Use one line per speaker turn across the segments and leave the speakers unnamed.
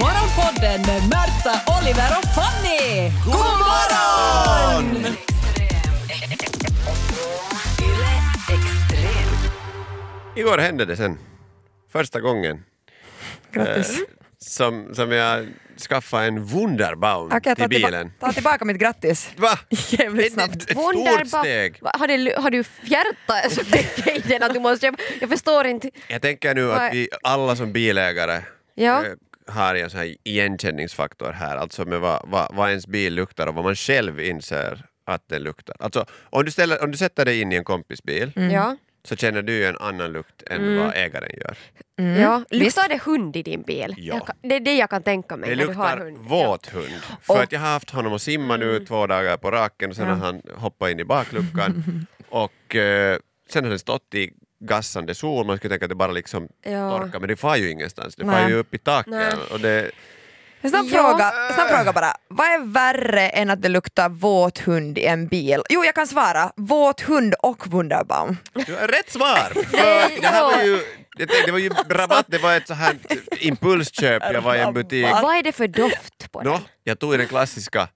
Morgonpodden med Märta, Oliver och Fanny! God
morgon! Igår hände det sen. Första gången
Eh,
Grattis.
som, som jag skaffade en Wunderbaum
Okej, jag tar
till
tillba-
bilen.
ta tillbaka mitt grattis.
Va?
Jävligt
Ett, ett,
snabbt.
ett stort
Wunderbar.
steg.
Va, Har du, Alltså, har du fjärtat så mycket i den att du måste köpa? Jag förstår inte.
Jag tänker nu
Vad-
att vi alla som bilägare
Ja.
eh, har en sån här igenkänningsfaktor här, alltså med vad, vad, vad ens bil luktar och vad man själv inser att den luktar. Alltså om du, ställer, om du sätter dig in i en kompis bil
Mm.
Ja.
så känner du ju en annan lukt än vad ägaren gör.
ja. Luktar det hund i din bil?
Ja.
Jag kan, det är det jag kan tänka mig
Det
när du har
luktar
hund.
våt hund. För att jag har haft honom att simma nu två dagar på raken och sen har han hoppat in i bakluckan. och eh, sen har den stått i gassande sol, man skulle tänka att det bara liksom
Ja.
torkar men det far ju ingenstans, det far
Nej.
ju upp i
Nej.
taket. Och det,
En snabb,
Ja.
fråga, snabb fråga bara. Vad är värre än att det luktar våt hund i en bil? Jo, jag kan svara. Våt hund och Wunderbaum.
du har rätt svar!
Nej,
För det här var ju, jag tänkte, det var ju rabatt, det var ett så här impulsköp, jag var i en butik.
Ja. Vad är det för doft på den?
Nå, jag tog den klassiska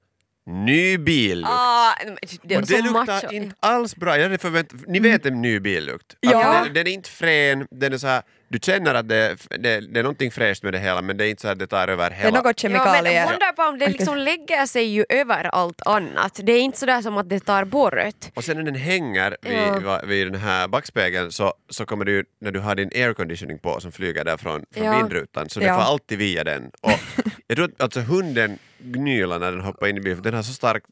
ny bil.
Ah, men det är
Och det
så
luktar
macho.
inte alls bra. Jag hade förvänt... Ni vet en ny billukt? Att
Ja.
Den, den är inte frän, den är så här, du känner att det, det, det är någonting fräscht med det hela men det är inte så att det tar över
Det är
hela.
något
Ja, men
kemikalier.
Wunderbaum det liksom lägger sig ju över allt annat. Det är inte sådär som att det tar bort.
Och sen när den hänger vid,
Ja.
va- vid den här backspegeln så, så kommer du, när du har din airconditioning på som flyger där från, från
Ja.
vindrutan, så det
Ja.
får alltid via den. Och jag tror att alltså, hunden gnylar när den hoppar in i bilen för den har så stark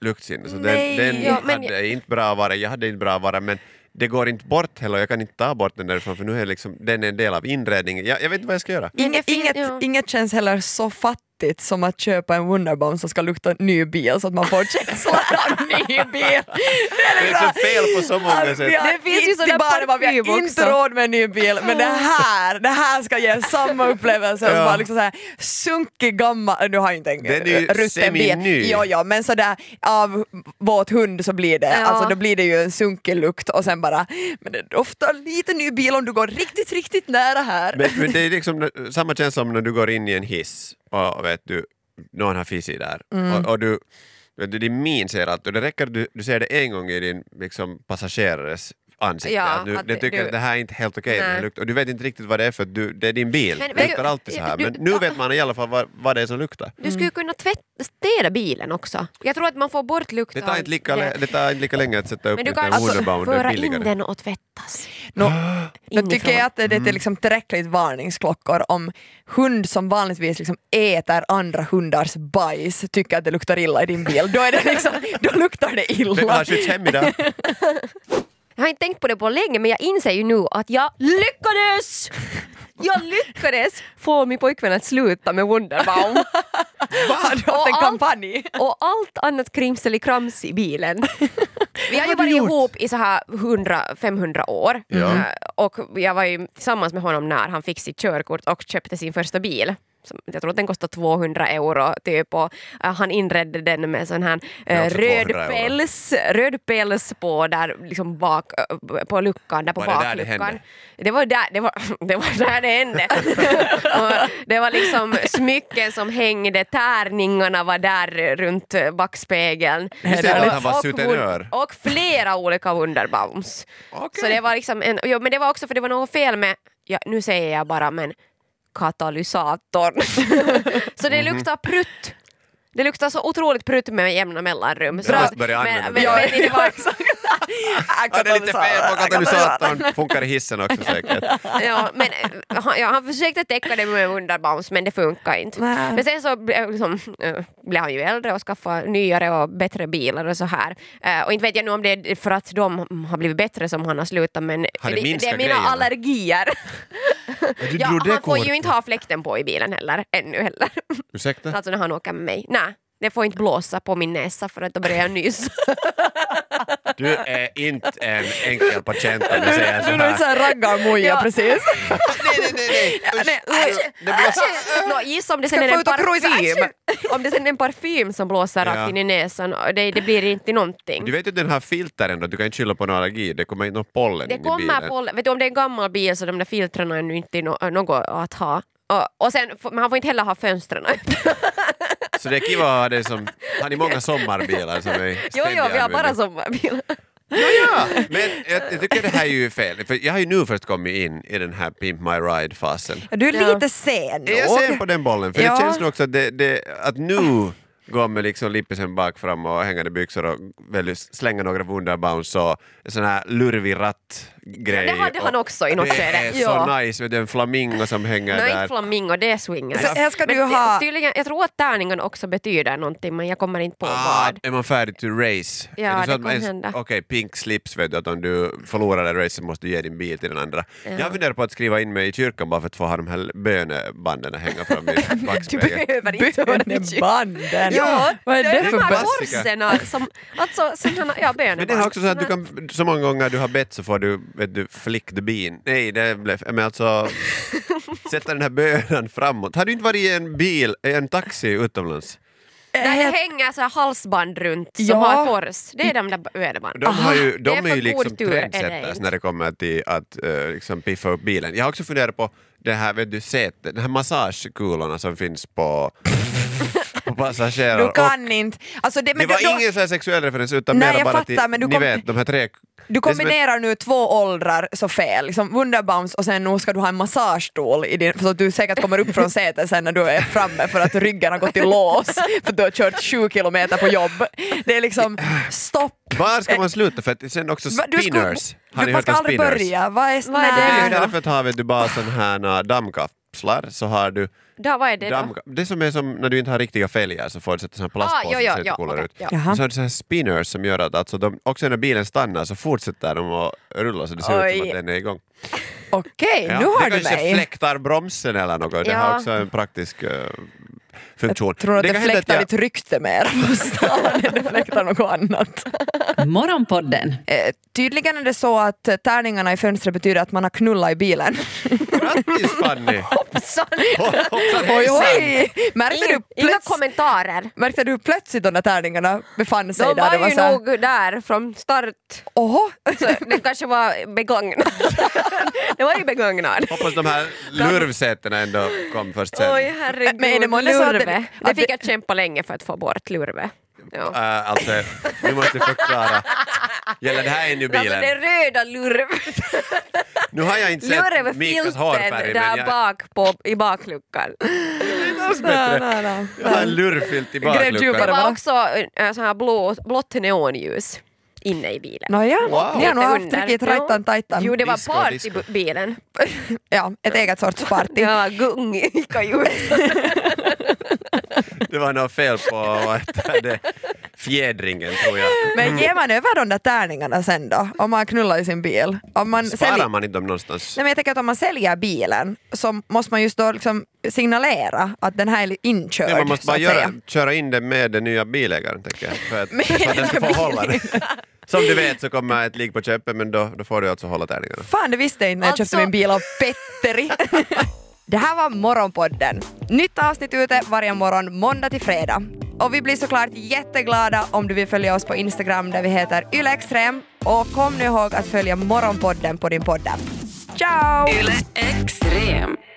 luktsinne så den,
Nej.
den
Ja, men-
hade inte bra vara, jag hade inte bra vara men det går inte bort heller, jag kan inte ta bort den därifrån för nu är liksom, den är en del av inredningen. Jag, jag vet inte vad jag ska göra.
Men det
Inget,
fin-
inget,
ja.
inget känns heller så fattigt som att köpa en Wunderbaum som ska lukta ny bil så att man får känslan av ny bil.
Det är liksom fel på så många
Alltså, vi
sätt.
har
Det finns ju
inte
sådana
bara vad vi
parfym
har inte
också.
råd med en ny bil, men det här, det här ska ge samma upplevelse som
Ja.
bara liksom så här sunkig gammal, Äh, nu har jag inte en
Den är ju
eh, rutten
semi-ny.
bil. Jo, jo, men sådär av våt hund så blir det,
Ja.
alltså då blir det ju en sunkig lukt och sen bara, men det doftar lite ny bil om du går riktigt, riktigt nära här.
Men, men det är liksom n- samma känsla som när du går in i en hiss och vet du, någon har fisit där
Mm.
och, och du, vet du, din min ser allt och det räcker att du, du ser det en gång i din liksom, passagerares ansikte.
Ja,
att du,
att
den
det-
tycker
du-
att det här är inte helt okej den här
Nej.
lukten. och du vet inte riktigt vad det är för att du, det är din bil.
Men-
det
men
luktar
du-
alltid så här.
du-
men nu vet man i alla fall vad, vad det är som luktar.
Du skulle ju kunna tvätta, städa bilen också. Jag tror att man får bort
Det
lukten.
tar inte lika, lä- det tar inte lika länge att sätta upp
Men du
ut
kan
en
alltså
Wunderbaum, det är
föra in
billigare.
den och tvättas.
Nå, Då
Inifrån.
tycker jag att det
Mm.
är liksom tillräckligt varningsklockor om hund som vanligtvis liksom äter andra hundars bajs tycker att det luktar illa i din bil. Då, är det liksom, då luktar det
Vem
illa.
har skjuts hem idag?
Jag har inte tänkt på det på länge men jag inser ju nu att jag lyckades! Jag lyckades få min pojkvän att sluta med Wunderbaum.
Har du haft en
Och allt-
kampanj?
Och allt annat krimsel i krams i bilen. Vi har ju varit ihop i så här 100-500 år.
Ja.
Eh, Och jag var ju tillsammans med honom när han fick sitt körkort och köpte sin första bil. Som- Jag tror att den kostade 200 euro typ och eh, han inredde den med sån här
är
eh,
också
röd
200 euro.
päls, röd päls på där liksom bak, eh, på luckan, där på
Var det där det
bakluckan.
hände?
Det var där det, var, det var där det hände. och det var liksom smycken som hängde, tärningarna var där runt backspegeln.
Visste inte att han var
Och- och
sutenör.
wun- Och flera olika Wunderbaums.
Okej.
Så det var liksom en, jo, men det var också för det var något fel med, ja, nu säger jag bara men katalysatorn. så
Mhm.
det luktar prutt. Det luktar så otroligt prutt med jämna mellanrum. Så
Jag
att-
måste börja
men,
använda
men,
det.
jag vet inte vad,
Ja, det är lite fel på katalysatorn, funkar i hissen också säkert.
ja, men, eh, han, ja, han försökte täcka det med Wunderbaums men det funkar inte.
Nej.
Men sen så blev, liksom, eh, blev han ju äldre och skaffade nyare och bättre bilar och så här. Eh, Och inte vet jag nu om det är för att de har blivit bättre som han har slutat men
Har det
det, det
minskat
är mina
grejerna?
allergier.
Du
Ja,
drog det
han får
kortet.
ju inte ha fläkten på i bilen heller, ännu heller.
Ursäkta?
Alltså när han åker med mig. Nej, det får inte blåsa på min näsa för att då börjar jag nysa.
Du är inte en enkel patient om jag säger så
Du är
här.
såhär raggarmoja
Ja.
precis.
Nej, nej, nej, nej. alltså,
nej,
Usch,
aj.
det blåser.
Nå, gissa om det
Ska
sen är
få
en
ut och cruisa.
parfym. Om det sen är en parfym som blåser
Ja.
rakt in i näsan, och det, det blir inte någonting.
Du vet ju den här filtren då, du kan inte skylla på någon allergi, det kommer inte någon pollen
Det
in i bilen.
kommer på, vet du, om det är en gammal bil så de där filtrarna är nu inte no- något att ha. Och, och sen, får- men han får inte heller ha fönstren öppna.
Så det är kiva att ha det som, har ni många sommarbilar som är
Jo, jo, vi har
ständiga
bara sommarbilar.
Ja, men jag, jag tycker det här är ju fel. För jag har ju nu först kommit in i den här Pimp My Ride-fasen.
Du är
Ja.
lite sen
Är jag
nog.
sen på den bollen? För
Ja.
det känns nog också att, det, det, att nu går med liksom lippisen bak fram och hängande byxor och väl slänga några wunderbounds och en sån här lurvig ratt-grej.
Ja, det hade han
Och
också i något
Det är
skede.
så
Ja.
nice, vet du, en flamingo som hänger
Nej, inte
där.
flamingo, det är swingers.
Så här ska
Men typ-
du ha-
tydligen, jag tror att tärningen också betyder någonting, men jag kommer inte på
Ah,
vad.
är man färdig till race?
Ja,
är så
det
att man
kan
ens-
hända.
Okej, pink slips vet du, att om du förlorar det racet måste du ge din bil till den andra. Jag funderar på att skriva in mig i kyrkan bara för att få ha de här bönebanden att hänga fram i backspegeln.
behöver
Bönebanden!
Ja,
Vad är
Det
det
är
för
de här
band?
band?
korserna som, alltså, som han, ja böneband.
Men det är också så att du kan, så många gånger du har bett så får du, vet du flick the bean. Nej, det blev, men alltså sätta den här bönan framåt. Har du inte varit i en bil, i en taxi utomlands?
Där
Äh,
det hänger så här halsband runt som
Ja.
har kors. Det är de där bönebanden.
De, har ju, de
Det
är,
är för
ju
god
liksom
tur, är det
trendsetters
inte?
när det kommer till att eh, liksom piffa upp bilen. Jag har också funderat på det här, vet du, sätet, de här massagekulorna som finns på, på passagerare.
Du
Och
kan inte. Alltså det,
det
men
var
då,
ingen så här sexuell referens utan
Nej,
mer
jag
bara
fattar,
till,
men du
ni
kom-
vet, de här tre...
du
det är som ett-
kombinerar nu två åldrar så fel. Liksom Wunderbounce och sen nu ska du ha en massagestol i din, så att du säkert kommer upp från sätet sen när du är framme för att ryggen har gått i lås för att du har kört sju kilometer på jobb. Det är liksom stopp.
Var ska man sluta? För att sen också
Eh, Va, du ska-
spinners. har
du,
ni
man
hört
ska
om
aldrig
spinners?
börja. Vad är,
Vad är
Det är
Nej,
istället
då?
för att ha vet du, bara sån här na, dammkapslar så har du
Där, vad är det då?
dammka- det som är som när du inte har riktiga fälgar så får du sätta sån här
Ah,
plastpåse
jo, jo,
så det
jo,
inte kollar
okej,
ut.
ja.
Jaha.
Så har du sån här spinners som gör att alltså, de, också när bilen stannar så fortsätter de att rulla så det ser ut som
Oj.
att den är igång.
Okej, nu har
det
du
kanske
mig.
fläktar bromsen eller något, det
Ja.
har också en praktisk eh, funktion.
Tror du att det,
kan hända
fläktar
jag-
ditt rykte mer på stan än det fläktar något annat?
Morgonpodden
Eh, tydligen är det så att tärningarna i fönstret betyder att man har knullat i bilen.
Grattis Fanny!
Så,
Hoppsan
Oj,
hejsan!
oj! Märkte
inga,
du,
inga
plöts-
kommentarer.
märkte du plötsligt de där tärningarna befann sig
De
där?
var
Det var
ju
så här,
nog där från start.
Oho,
Så det kanske var begångna. det var ju begångna.
Hoppas de här lurvsätena ändå kom först sen.
Oj herregud,
Men är det månne så att det-
lurve.
att
det
det-
fick jag kämpa länge för att få bort lurve. Ja.
Äh, alltså, nu måste jag förklara. Gäller det här ännu
Alltså det
bilen?
röda lurvet.
Nu har jag inte sett Mikas hårfärg,
Lurvfilten
men
där
jag,
bak på, i bakluckan.
nej, nej, nej.
jag har en lurvfilt i bakluckan.
Det
djupare.
var
bara-
också äh, så här blå, blått neonljus inne i bilen.
Nåja,
Wow.
ni har nog haft
Under.
riktigt
Ja.
rajtan tajtan.
Jo, det var
Disco,
party
disco.
i bilen.
Ja, ett eget sorts party.
Ja, gung gick och gjorde.
Det var något fel på vad heter det, fjädringen tror jag.
Men ger man över de där tärningarna sen då, om man knullar i sin bil? Om man
Sparar
säljer-
man inte dem någonstans?
Nej, men jag tänker att om man säljer bilen så måste man just då liksom signalera att den här är inkörd.
Nej, man måste
så
bara
att
göra,
säga.
köra in den med den nya bilägaren tänker jag, för att,
Med
för att den ska
den
få hålla den. Som du vet så kommer ett ligg på köpet men då, då får du alltså hålla tärningarna.
Fan, det visste jag inte när jag
Alltså-
köpte min bil av Petteri. det här var Morgonpodden. Nytt avsnitt ute varje morgon måndag till fredag. Och vi blir såklart jätteglada om du vill följa oss på Instagram där vi heter ylextrem. Och kom nu ihåg att följa Morgonpodden på din poddapp. Ciao!
Yle Extrem.